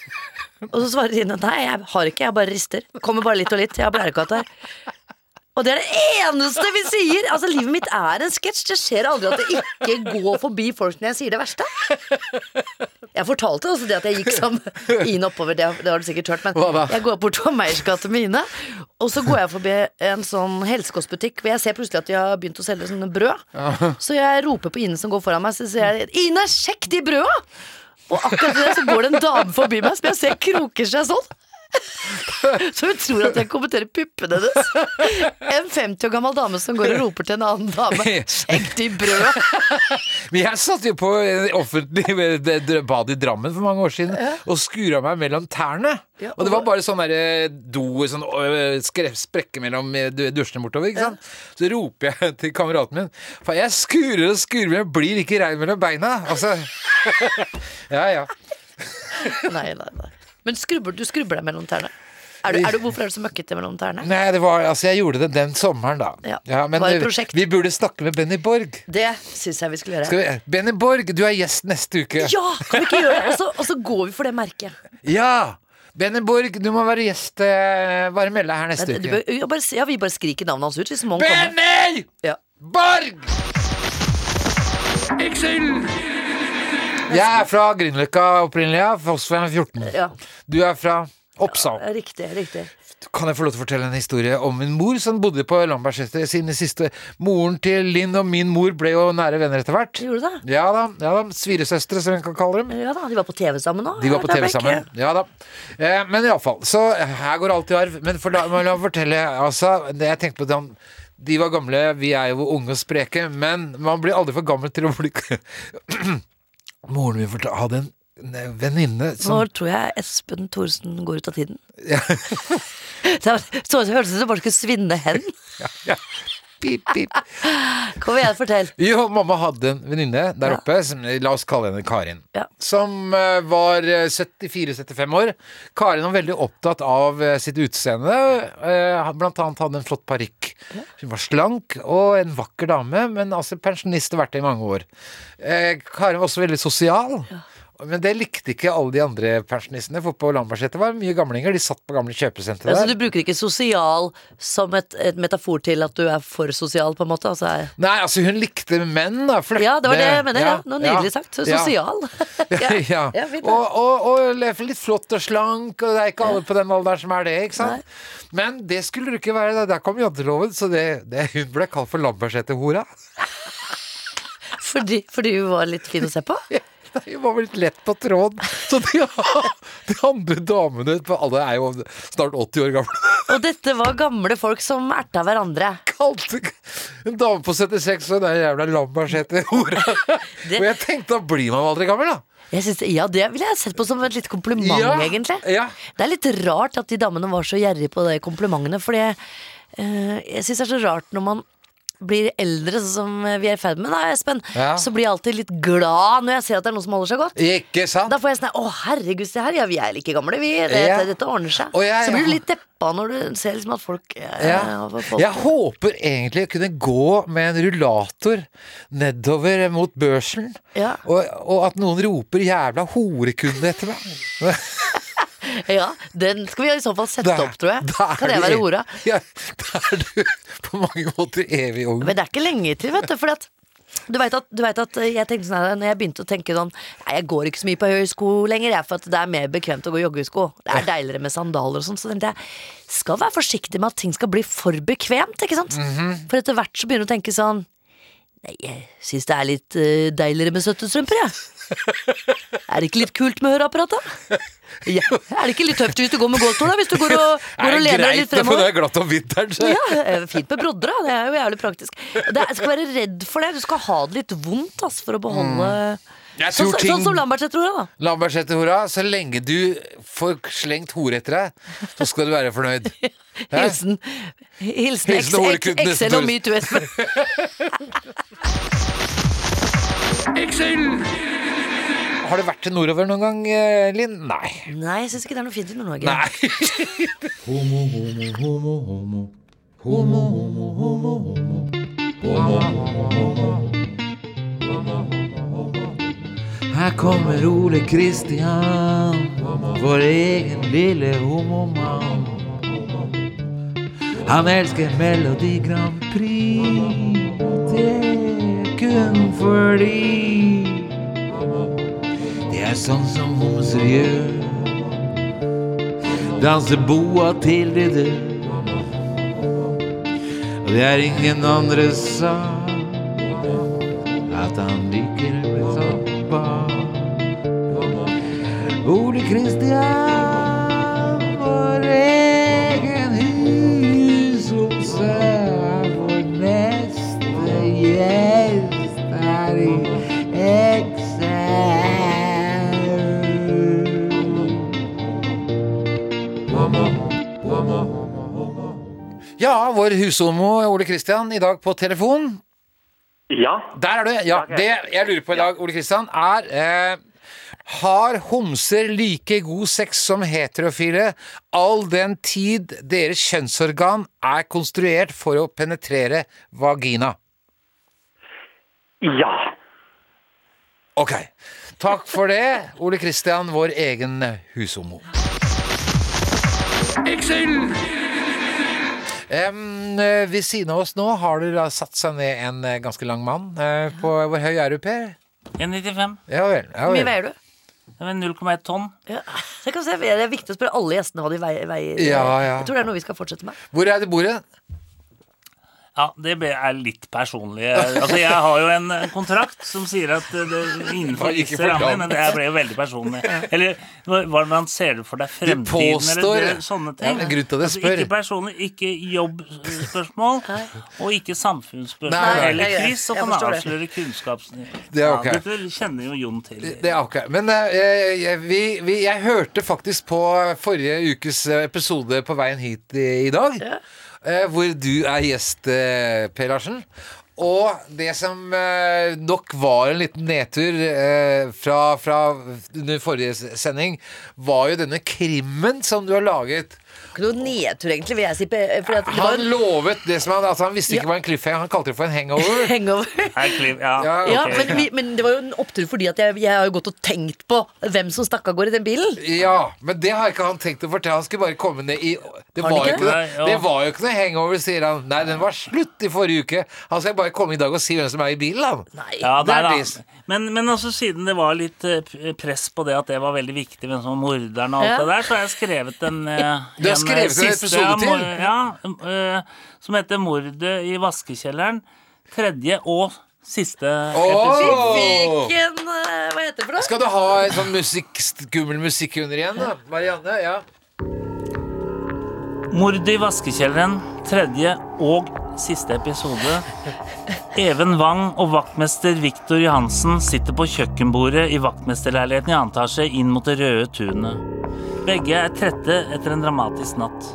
Speaker 3: Og så svarer Ine 'Nei, jeg har ikke, jeg bare rister'. Kommer bare litt og litt. Jeg har blærekatt her. Og det er det eneste vi sier! Altså, Livet mitt er en sketsj. Det skjer aldri at det ikke går forbi folk når jeg sier det verste. Jeg fortalte også det at jeg gikk sammen med Ine oppover, det, det har du sikkert hørt,
Speaker 2: Hva da?
Speaker 3: men jeg går bort på Meiersgata med Ine, og så går jeg forbi en sånn helsekostbutikk, hvor jeg ser plutselig at de har begynt å selge sånne brød. Så jeg roper på Ine som går foran meg, så sier jeg 'Ine, sjekk de brøda!' Og akkurat i det så går det en dame forbi meg som jeg ser kroker seg sånn. Så hun tror at jeg kommenterer puppene hennes. En 50 år gammel dame som går og roper til en annen dame 'sjekk de brøda'.
Speaker 2: Men jeg satt jo på en offentlig (laughs) bad i Drammen for mange år siden og skura meg mellom tærne.
Speaker 3: Ja,
Speaker 2: og det
Speaker 3: og-
Speaker 2: var bare sånn derre do sånn, øh, skre- sprekke mellom øh, du- dusjene bortover. ikke sant? Så roper jeg (laughs) til kameraten min For jeg skurer og skurer, men jeg blir ikke rein mellom beina. Altså (laughs) Ja, ja.
Speaker 3: Nei, nei, nei. Men skrubber, du skrubber deg mellom tærne? Er du, er du, hvorfor er du så møkkete mellom tærne?
Speaker 2: Nei, det var Altså, jeg gjorde det den sommeren, da.
Speaker 3: Ja.
Speaker 2: men
Speaker 3: Var det et
Speaker 2: øh,
Speaker 3: prosjekt?
Speaker 2: vi burde snakke med Benny Borg.
Speaker 3: Det syns jeg vi skulle gjøre.
Speaker 2: Skal vi, Benny Borg, du er gjest neste uke.
Speaker 3: Ja! Kan vi ikke gjøre det? Og så- Og så går vi for det merket.
Speaker 2: Ja! Benny Borg, du må være gjest øh, Bare meld deg her
Speaker 3: Men
Speaker 2: neste
Speaker 3: du
Speaker 2: uke.
Speaker 3: bør- ja, bare, ja, vi bare skriker navnet hans ut hvis Mong kommer.
Speaker 2: Benny!
Speaker 3: Ja.
Speaker 2: Borg! Jeg er fra Grünerløkka opprinnelig, ja. Fossveien 14.
Speaker 3: ja.
Speaker 2: Du er fra Oppsal.
Speaker 3: Riktig. riktig
Speaker 2: Kan jeg få lov til å fortelle en historie om min mor som bodde på Lambertseter sine siste Moren til Linn og min mor ble jo nære venner etter hvert.
Speaker 3: Gjorde du det?
Speaker 2: Ja da. ja da, Sviresøstre, som vi kan kalle dem.
Speaker 3: Ja da, De var på TV sammen nå.
Speaker 2: De var på
Speaker 3: Ja, det
Speaker 2: TV
Speaker 3: ble
Speaker 2: sammen.
Speaker 3: ikke-
Speaker 2: Ja da. Eh, men iallfall. Så eh, her går alt i arv. Men for la, la meg fortelle, altså det Jeg tenkte på den De var gamle, vi er jo unge og spreke, men man blir aldri for gammel til å bli (clears throat) Moren min fortal- hadde en en venninne som
Speaker 3: Nå tror jeg Espen Thorsen går ut av tiden. (laughs) det var- så ut som hørtes ut som bare skulle svinne hen.
Speaker 2: pip, pip.
Speaker 3: Kom igjen, fortell.
Speaker 2: Jo, mamma hadde en venninne der
Speaker 3: Ja.
Speaker 2: oppe, som, la oss kalle henne Karin,
Speaker 3: Ja.
Speaker 2: som eh, var eh, 74-75 år. Karin var veldig opptatt av eh, sitt utseende. eh, blant annet hadde en flott parykk. Hun var slank og en vakker dame, men altså pensjonist har vært det i mange år. Eh, Karin var også veldig sosial. Men det likte ikke alle de andre pensjonistene, for på Lambertseter var det mye gamlinger. De satt på gamle kjøpesentre
Speaker 3: Altså,
Speaker 2: der.
Speaker 3: du bruker ikke sosial som et, et metafor til at du er for sosial, på en måte? Altså, er-
Speaker 2: Nei, altså hun likte menn, da. Flørte.
Speaker 3: ja, det var det jeg mener. Ja. Noe nydelig sagt. Så
Speaker 2: ja.
Speaker 3: Sosial.
Speaker 2: (laughs) ja.
Speaker 3: (laughs) ja, fint,
Speaker 2: og, og, og le- litt flott og slank, og det er ikke alle på den alderen som er det. ikke sant? Men det skulle du ikke være. da. Der kom janteloven, så det, det, hun ble kalt for Lambertseter-hora. (laughs)
Speaker 3: Fordi, fordi hun var litt fin å se på?
Speaker 2: Hun var vel litt lett på tråden. Så de, (laughs) de andre damene på Alle er jo snart 80 år gamle. (laughs)
Speaker 3: Og dette var gamle folk som erta hverandre.
Speaker 2: Kalte en dame på 76 og den jævla Lambertseter-hora.
Speaker 3: (laughs) Det-
Speaker 2: Og jeg tenkte, da blir man aldri gammel, da.
Speaker 3: Jeg synes, ja, Det ville jeg sett på som et lite kompliment,
Speaker 2: Ja,
Speaker 3: egentlig.
Speaker 2: ja.
Speaker 3: Det er litt rart at de damene var så gjerrige på de komplimentene, fordi eh, jeg syns det er så rart når man blir eldre, sånn som vi er i ferd med da, Espen,
Speaker 2: Ja.
Speaker 3: så blir jeg alltid litt glad når jeg ser at det er noen som holder seg godt.
Speaker 2: Ikke sant?
Speaker 3: Da får jeg sånn Å, herregud, se her. Ja, vi er like gamle, vi. Det,
Speaker 2: Ja.
Speaker 3: Dette ordner seg.
Speaker 2: Og jeg-
Speaker 3: så blir du litt deppa når du ser liksom at folk eh,
Speaker 2: Ja.
Speaker 3: folk-
Speaker 2: Jeg håper egentlig å kunne gå med en rullator nedover mot børsen,
Speaker 3: Ja. (laughs)
Speaker 2: og, og at noen roper 'jævla horekunde' etter meg.
Speaker 3: Ja, den skal vi i så fall sette
Speaker 2: Da-
Speaker 3: opp, tror jeg.
Speaker 2: da er
Speaker 3: Kan jeg
Speaker 2: du
Speaker 3: være
Speaker 2: ev-
Speaker 3: hora?
Speaker 2: (laughs) Ja, da er du på mange måter evig ung.
Speaker 3: Men det er ikke lenge til, vet du. For at du veit at, du vet at eh, jeg tenkte sånn her, Når jeg begynte å tenke sånn Nei, jeg går ikke så mye på høye sko lenger, jeg, for at det er mer bekvemt å gå i joggesko. Det er deiligere med sandaler og sånn. Så tenkte jeg skal være forsiktig med at ting skal bli for bekvemt, ikke sant. For etter hvert så begynner du å tenke sånn Nei, jeg syns det er litt eh, deiligere med støttestrømper, jeg. Er det ikke litt kult med høreapparat, da? Ja. Er det ikke litt tøft hvis du går med gåstol, da? Hvis du går og, går og lener deg litt
Speaker 2: det, for
Speaker 3: fremover?
Speaker 2: det er glatt om vinteren. Så.
Speaker 3: Ja, eh, fint med brodder, da. Det er jo jævlig praktisk. Det er, skal være redd for det. Du skal ha det litt vondt ass, for å beholde
Speaker 2: Jeg
Speaker 3: sånn,
Speaker 2: tror
Speaker 3: sånn,
Speaker 2: ting
Speaker 3: sånn som Lambertseter gjorde, da.
Speaker 2: Lambertseter hora, så lenge du får slengt hore etter deg, så skal du være fornøyd.
Speaker 3: (laughs)
Speaker 2: Hæ?
Speaker 3: Hilsen,
Speaker 2: Hilsen
Speaker 3: hilsen, X- X-
Speaker 2: horekundenes
Speaker 3: Excel og
Speaker 2: Doris.
Speaker 3: metoo.
Speaker 2: Har du vært til nordover noen gang, eh, Linn? Nei.
Speaker 3: Nei, jeg syns ikke det er noe fint i Nord-Norge.
Speaker 2: Nei.
Speaker 8: Her kommer Ole Kristian, vår egen lille homomann. Han elsker Melodi Grand Prix, det er kun fordi Det er sånn som homser gjør. Danser boa til de dør. Og det er ingen andre sang at han liker å bli tappa. Ole Kristian, vår egen husomse, er vår neste gjest her i Excel.
Speaker 2: Ja, vår hushomo Ole Kristian i dag på telefon.
Speaker 6: Ja.
Speaker 2: Der er du! Ja,
Speaker 6: Ok.
Speaker 2: det jeg lurer på i dag, Ole Kristian, er eh, Har homser like god sex som heterofile all den tid deres kjønnsorgan er konstruert for å penetrere vagina?
Speaker 6: Ja.
Speaker 2: Ok. Takk for det, Ole Kristian, vår egen hushomo. Em, eh, ved siden av oss nå har det da satt seg ned en eh, ganske lang mann. eh, på, hvor høy er du, Per?
Speaker 9: 1,95.
Speaker 2: Ja vel. Ja,
Speaker 3: Hvor
Speaker 2: vel.
Speaker 3: mye veier du?
Speaker 9: Det var 0,1 tonn.
Speaker 3: Ja. Det, kan vi se, det er viktig å spørre alle gjestene hva de veier. veier.
Speaker 2: Ja, ja.
Speaker 3: Jeg tror det er noe vi skal fortsette med.
Speaker 2: Hvor er det bordet?
Speaker 9: Ja, det be- er litt personlig. Altså, jeg har jo en en kontrakt som sier at eh, det innenfor
Speaker 2: Ikke
Speaker 9: visse
Speaker 2: fortalt.
Speaker 9: rammer, men det her ble jo veldig personlig. Eller hva- hvordan ser du for deg
Speaker 2: Du
Speaker 9: fremtiden?
Speaker 2: påstår
Speaker 9: eller det, sånne
Speaker 2: Ja,
Speaker 9: ting.
Speaker 2: men grunnen til at jeg
Speaker 9: Altså,
Speaker 2: spør.
Speaker 9: ikke personlig, ikke jobbspørsmål, og ikke
Speaker 2: Nei,
Speaker 9: samfunnsspørsmål
Speaker 2: nei.
Speaker 9: eller
Speaker 3: Jeg gjør det.
Speaker 9: quiz, så
Speaker 3: Jeg
Speaker 9: kan
Speaker 3: forstår det.
Speaker 9: avsløre kunnskapsnivå.
Speaker 2: Det er ok.
Speaker 9: Ja, dette kjenner jo Jon til.
Speaker 2: Det er ok. Men eh, jeg, jeg, vi, vi, jeg hørte faktisk på forrige ukes eh, episode på veien hit i, i dag, eh, hvor du er gjest, eh, Per Larsen. Og det som eh, nok var en liten nedtur eh, fra, fra under forrige s- sending, var jo denne krimmen som du har laget.
Speaker 3: Ikke noe nedtur, egentlig, vil jeg si. pe- Fordi at det var
Speaker 2: Han
Speaker 3: en
Speaker 2: lovet det som han Altså, han visste ikke hva en cliffhanger Han kalte det for en hangover.
Speaker 3: (laughs) hangover.
Speaker 9: Er Cliff-
Speaker 2: (laughs)
Speaker 9: ja,
Speaker 2: Ja,
Speaker 9: ok.
Speaker 3: Ja, men, vi, men det var jo en opptur fordi at jeg, jeg har jo gått og tenkt på hvem som stakk av gårde i den bilen.
Speaker 2: Ja, men det har ikke han tenkt å fortelle. Han skulle bare komme ned i Det,
Speaker 3: Har
Speaker 2: var
Speaker 3: han
Speaker 2: jo
Speaker 3: ikke
Speaker 2: ikke noe,
Speaker 9: det? Nei, ja.
Speaker 2: det var jo ikke noe hangover, sier han. Nei, den var slutt i forrige uke. Han skal bare komme i dag og si hvem som er i bilen, han.
Speaker 3: Nei.
Speaker 9: Ja,
Speaker 2: Det er
Speaker 9: nei da.
Speaker 2: dis.
Speaker 9: Men, men altså, siden det var litt eh, p- press på det at det var veldig viktig hvem som var morderen og alt
Speaker 3: Ja.
Speaker 9: det der, så har jeg skrevet en, eh,
Speaker 2: Du har
Speaker 9: en, eh,
Speaker 2: skrevet en episode
Speaker 9: ja, mor-
Speaker 2: til?
Speaker 9: Ja, eh, som heter 'Mordet i vaskekjelleren'. Tredje og siste episode.
Speaker 2: Åh!
Speaker 3: Hvilken eh, Hva heter det for noe?
Speaker 2: Skal du ha en sånn musikk, skummel musikk under igjen, da? Marianne? Ja.
Speaker 9: 'Mordet i vaskekjelleren'. Tredje og siste episode. Even Wang og vaktmester Viktor Johansen sitter på kjøkkenbordet i vaktmesterleiligheten i 2. etasje inn mot det røde tunet. Begge er trette etter en dramatisk natt.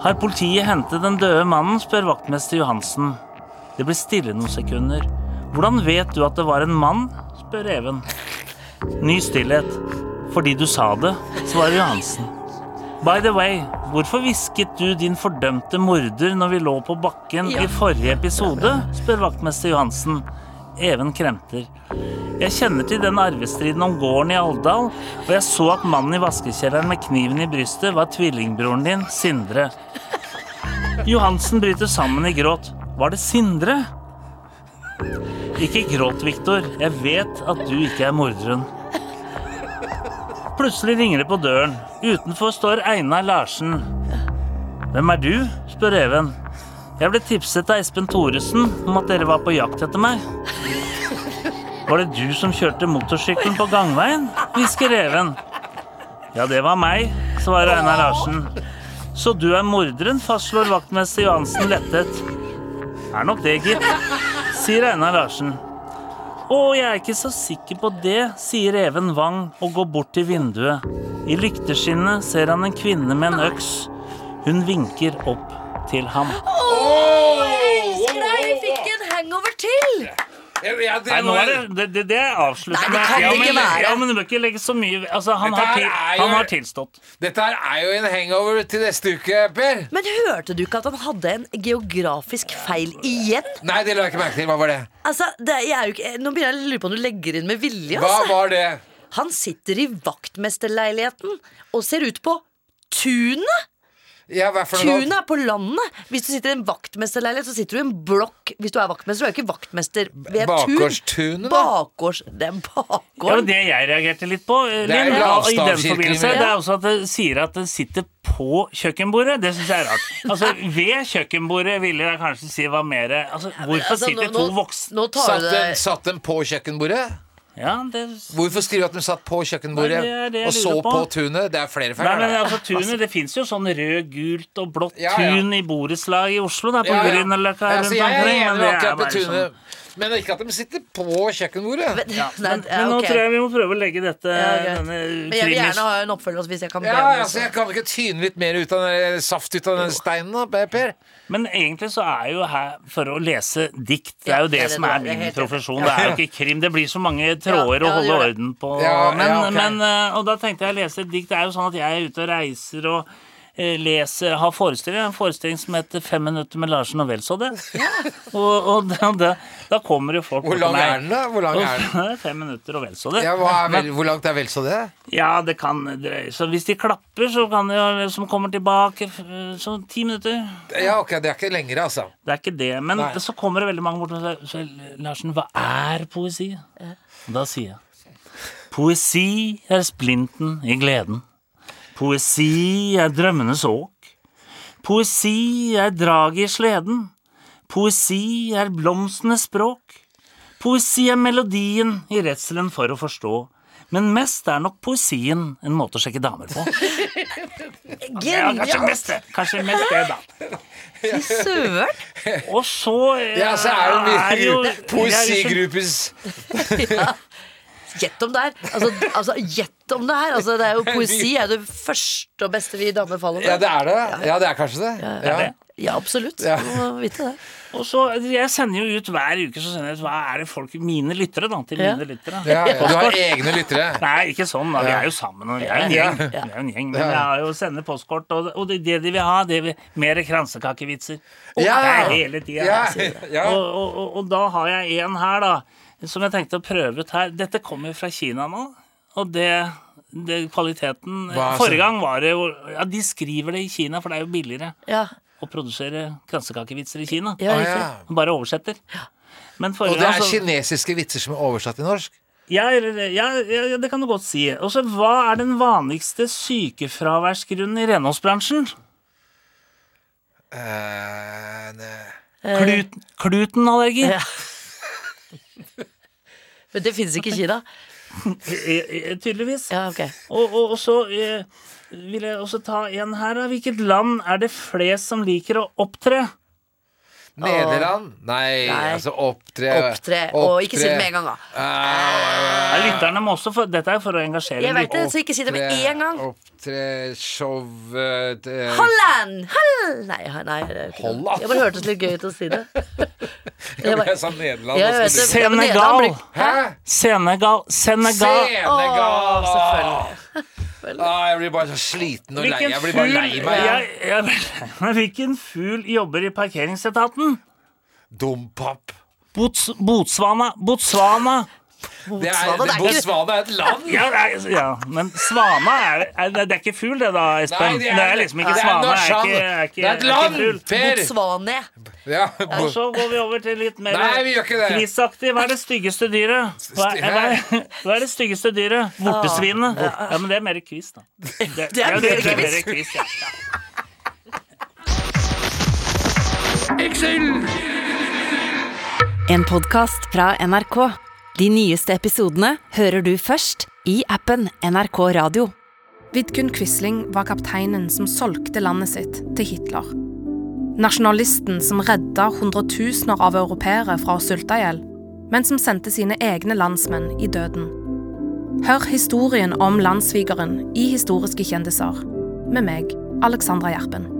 Speaker 9: Har politiet hentet den døde mannen, spør vaktmester Johansen. Det blir stille noen sekunder. Hvordan vet du at det var en mann, spør Even. Ny stillhet. Fordi du sa det, svarer Johansen. By the way, hvorfor hvisket du din fordømte morder når vi lå på bakken i forrige episode, spør vaktmester Johansen. Even Kremter. Jeg kjenner til den arvestriden om gården i Alvdal, og jeg så at mannen i vaskekjelleren med kniven i brystet var tvillingbroren din, Sindre. Johansen bryter sammen i gråt. Var det Sindre? Ikke gråt, Viktor. Jeg vet at du ikke er morderen. Plutselig ringer det på døren. Utenfor står Einar Larsen. Hvem er du? spør Even. Jeg ble tipset av Espen Thoresen om at dere var på jakt etter meg. Var det du som kjørte motorsykkelen på gangveien? hvisker Even. Ja, det var meg, svarer Einar Larsen. Så du er morderen, fastslår vaktmester Johansen lettet. Er nok det, gitt, sier Einar Larsen. Å, jeg er ikke så sikker på det, sier Even Wang og går bort til vinduet. I lykteskinnet ser han en kvinne med en øks. Hun vinker opp til ham.
Speaker 3: Åh, jeg elsker deg! Jeg fikk en hangover til!
Speaker 9: Nei, nå er det, det, det, det er avsluttende.
Speaker 3: Nei, det kan det
Speaker 9: men,
Speaker 3: ikke være.
Speaker 9: Ja, men du bør ikke legge så mye Altså, han,
Speaker 2: Dette
Speaker 9: har,
Speaker 2: her
Speaker 9: til,
Speaker 2: er jo-
Speaker 9: han har tilstått.
Speaker 2: Dette her er jo en hangover til neste uke, Per.
Speaker 3: Men hørte du ikke at han hadde en geografisk feil igjen?
Speaker 2: Nei, det la jeg ikke merke til. Hva var det?
Speaker 3: Altså, det, jeg er jo ikke, Nå begynner jeg å lure på om du legger inn med vilje.
Speaker 2: Hva
Speaker 3: Altså.
Speaker 2: var det?
Speaker 3: Han sitter i vaktmesterleiligheten og ser ut på tunet!
Speaker 2: Ja, hva for noe?
Speaker 3: Tunet er på landet! Hvis du sitter i en vaktmesterleilighet, så sitter du i en blokk. Hvis du er vaktmester, du er jo ikke vaktmester ved et
Speaker 2: Bakgårdstunet, da?
Speaker 3: tun. Bakgårds... Det er
Speaker 9: Det var
Speaker 3: bakgård.
Speaker 9: det jeg reagerte litt på. eh,
Speaker 2: Det er
Speaker 9: Linn,
Speaker 2: jo
Speaker 9: ja, i den
Speaker 2: lavstavskirken,
Speaker 9: forbindelse.
Speaker 2: men-
Speaker 9: Det er også at det sier at det sitter på kjøkkenbordet. Det syns jeg er rart.
Speaker 3: (laughs)
Speaker 9: Altså, Ved kjøkkenbordet ville jeg kanskje si var mer altså, Hvorfor
Speaker 3: Altså, nå-
Speaker 9: sitter to
Speaker 3: nå-
Speaker 9: voksne
Speaker 3: Nå tar
Speaker 2: Satt
Speaker 3: du
Speaker 2: den,
Speaker 3: det
Speaker 2: satt den på kjøkkenbordet?
Speaker 9: Ja, det
Speaker 2: Hvorfor skriver du at de satt på kjøkkenbordet
Speaker 9: Nei, det er det jeg
Speaker 2: og så
Speaker 9: lurer
Speaker 2: på
Speaker 9: på.
Speaker 2: tunet? Det er flere feil.
Speaker 9: Nei, men
Speaker 2: her, da.
Speaker 9: altså tunet, Det fins jo sånn rød, gult og blått
Speaker 2: Ja, ja.
Speaker 9: tun i borettslag i Oslo. Da, på
Speaker 2: Ja, ja.
Speaker 9: Grünerløkka
Speaker 2: Ja,
Speaker 9: rundt
Speaker 2: så jeg er
Speaker 9: omkring.
Speaker 2: enig
Speaker 9: Men
Speaker 2: med
Speaker 9: det er
Speaker 2: akkurat
Speaker 9: bare
Speaker 2: det
Speaker 9: sånn.
Speaker 2: tunet. Men ikke at de sitter på kjøkkenbordet.
Speaker 3: Nei,
Speaker 9: Men,
Speaker 3: ja,
Speaker 9: men nå
Speaker 3: ok.
Speaker 9: tror jeg vi må prøve å legge dette
Speaker 3: Ja, greit.
Speaker 9: Eh, denne
Speaker 3: Men jeg vil
Speaker 9: krimis-
Speaker 3: gjerne ha en oppfølger hvis jeg kan. be
Speaker 2: Ja,
Speaker 3: om det
Speaker 2: altså,
Speaker 3: også.
Speaker 2: jeg kan ikke tyne litt mer ut av den, eller saft ut av den steinen, da, Per.
Speaker 9: Men egentlig så er jeg jo her for å lese dikt. Det
Speaker 3: Ja,
Speaker 9: er jo det
Speaker 3: det er det
Speaker 9: som
Speaker 3: du
Speaker 9: er
Speaker 3: er, det er
Speaker 9: min
Speaker 3: helt enig.
Speaker 9: profesjon. Det er jo ikke krim. Det blir så mange
Speaker 3: Ja, ja,
Speaker 9: tråder å
Speaker 3: det
Speaker 9: holde
Speaker 3: gjør det.
Speaker 9: orden på.
Speaker 2: Ja, ja,
Speaker 9: Men,
Speaker 2: ok.
Speaker 9: men, eh, og da tenkte jeg å lese et dikt. Det er jo sånn at jeg er ute og reiser og eh, leser, har forestillinger. En forestilling som heter 'Fem minutter med Larsen og vel så det'. Og, og da, da, da kommer jo folk
Speaker 2: Hvor
Speaker 9: bort til
Speaker 2: lang
Speaker 9: meg. eh,
Speaker 2: er den, da? Hvor lang er den?
Speaker 9: Fem minutter og vel så det.
Speaker 2: Ja, hva er vel, hvor langt er vel så det?
Speaker 9: Ja, det kan dreie Så hvis de klapper, så kan de jo Som kommer tilbake eh, Så ti minutter
Speaker 2: Ja, ok, det er ikke lengre, altså.
Speaker 9: Det er ikke det Men
Speaker 2: Nei.
Speaker 9: så kommer det veldig mange bort og sier «Sel- Larsen, hva er poesi? Og da sier jeg Poesi er splinten i gleden Poesi er drømmenes åk Poesi er draget i sleden Poesi er blomstenes språk Poesi er melodien i redselen for å forstå. Men mest er nok poesien en måte å sjekke damer på. Ja, kanskje
Speaker 3: Genialt!
Speaker 9: mest det. Kanskje mest det, da.
Speaker 3: Fy søren!
Speaker 9: Og så eh,
Speaker 2: Ja, så er det
Speaker 9: er
Speaker 2: (laughs) mye
Speaker 9: jo- jeg er jo så-
Speaker 2: poesigruppes
Speaker 3: Gjett om det er! Altså, altså, gjett om det er! Altså, det er
Speaker 2: (laughs)
Speaker 3: jo poesi er jo det første og beste vi damer faller
Speaker 2: Ja, det
Speaker 3: for.
Speaker 2: er det. Ja, det er kanskje det. Ja.
Speaker 9: det.
Speaker 3: Ja, absolutt.
Speaker 2: Ja.
Speaker 3: Du må vite det.
Speaker 9: Og så, jeg sender jo ut hver uke så sender jeg ut hva er det folk, mine lyttere, da. Til
Speaker 3: Ja.
Speaker 9: mine lyttere.
Speaker 2: Ja, ja. Du har egne lyttere.
Speaker 9: Nei, ikke sånn. da, Vi er jo sammen, og vi er jo en gjeng. Vi er jo en gjeng men jeg har jo sender postkort, og, og det, det de vil ha, det vil mer kransekakevitser. Og
Speaker 2: Ja.
Speaker 9: det er hele tida.
Speaker 2: Ja, ja.
Speaker 9: Og, og, og, og da har jeg en her, da, som jeg tenkte å prøve ut her. Dette kommer fra Kina nå, og det, det kvaliteten
Speaker 2: Hva er så-
Speaker 9: Forrige gang var det jo Ja, de skriver det i Kina, for det er jo billigere
Speaker 3: Ja,
Speaker 9: å produsere kransekakevitser i Kina.
Speaker 3: ja,
Speaker 2: Å,
Speaker 3: riktig.
Speaker 2: Ah, ja.
Speaker 9: Bare oversetter. Men forrige
Speaker 2: Og det
Speaker 9: gang
Speaker 2: er
Speaker 9: så-
Speaker 2: kinesiske vitser som er oversatt til norsk?
Speaker 9: ja, eller- ja, ja, ja, det kan du godt si. Og så, hva er den vanligste sykefraværsgrunnen i renholdsbransjen?
Speaker 2: Eh, ne-
Speaker 9: Klut, klutenallergi.
Speaker 3: Ja. Men det fins ikke i Kina.
Speaker 9: Eh, eh, Tydeligvis.
Speaker 3: Ja, ok.
Speaker 9: Og, og, og så eh, vil jeg også ta en her. Da. Hvilket land er det flest som liker å opptre?
Speaker 2: Nederland? Nei,
Speaker 3: Nei.
Speaker 2: altså opptre
Speaker 3: Opptre. Og ikke si det med en gang, da.
Speaker 9: Ja, lytterne må også få Dette er for å engasjere.
Speaker 3: Jeg vet
Speaker 9: lytterne.
Speaker 3: det, så ikke si det med en gang.
Speaker 2: Opptre, show eh, det-
Speaker 3: Holland! Hall- Nei, nei, det er jo ikke det.
Speaker 2: Holland?
Speaker 3: Jeg bare hørtes litt gøy ut å si
Speaker 2: (laughs)
Speaker 3: det. Jeg bare-
Speaker 2: Jeg sa Nederland.
Speaker 3: Ja,
Speaker 2: og
Speaker 3: jeg
Speaker 2: skulle-
Speaker 3: vet det. Ja, men Nederland
Speaker 9: Senegal.
Speaker 3: blir-
Speaker 2: Hæ?
Speaker 9: Senegal. Senegal.
Speaker 2: Senegal!
Speaker 3: Å, selvfølgelig.
Speaker 2: Ah, jeg blir bare så sliten og lei.
Speaker 9: Hvilken
Speaker 2: Jeg blir bare
Speaker 9: fugl-
Speaker 2: lei meg. jeg.
Speaker 9: Jeg- (laughs) jeg blir lei meg. Hvilken fugl jobber i parkeringsetaten?
Speaker 2: Dompap.
Speaker 9: Bots, Botswana! Botswana!
Speaker 2: Det er,
Speaker 3: Botswana, det er ikke-
Speaker 2: Botswana er et land!
Speaker 9: Ja, det er, ja. Men svana er, er Det det er ikke fugl, det da, Espen?
Speaker 2: Nei, det
Speaker 9: det,
Speaker 2: er-
Speaker 9: er, liksom ikke
Speaker 2: det er
Speaker 9: svana. Er
Speaker 2: Norsan.
Speaker 9: ikke, er ikke,
Speaker 2: Det er et
Speaker 9: ikke
Speaker 2: land,
Speaker 9: fugl.
Speaker 2: Per!
Speaker 3: Botswana.
Speaker 2: Ja,
Speaker 9: Og
Speaker 2: bo-
Speaker 9: så går vi over til litt mer
Speaker 2: Nei, vi gjør ikke det.
Speaker 9: prisaktig. Hva er det styggeste dyret? Hva er, hva er, (laughs) hva er det styggeste dyret? Vortesvinet. Ja, men det er mer quiz, da. Ah. (laughs)
Speaker 3: er
Speaker 9: Det, ja,
Speaker 3: mer
Speaker 9: det er
Speaker 3: quiz.
Speaker 9: mer quiz ja.
Speaker 1: En podkast fra NRK. De nyeste episodene hører du først i appen NRK Radio.
Speaker 10: Vidkun Quisling var kapteinen som solgte landet sitt til Hitler. Nasjonalisten som redda hundretusener av europeere fra å sulte i hjel, men som sendte sine egne landsmenn i døden. Hør historien om landssvigeren i Historiske kjendiser med meg, Alexandra Gjerpen.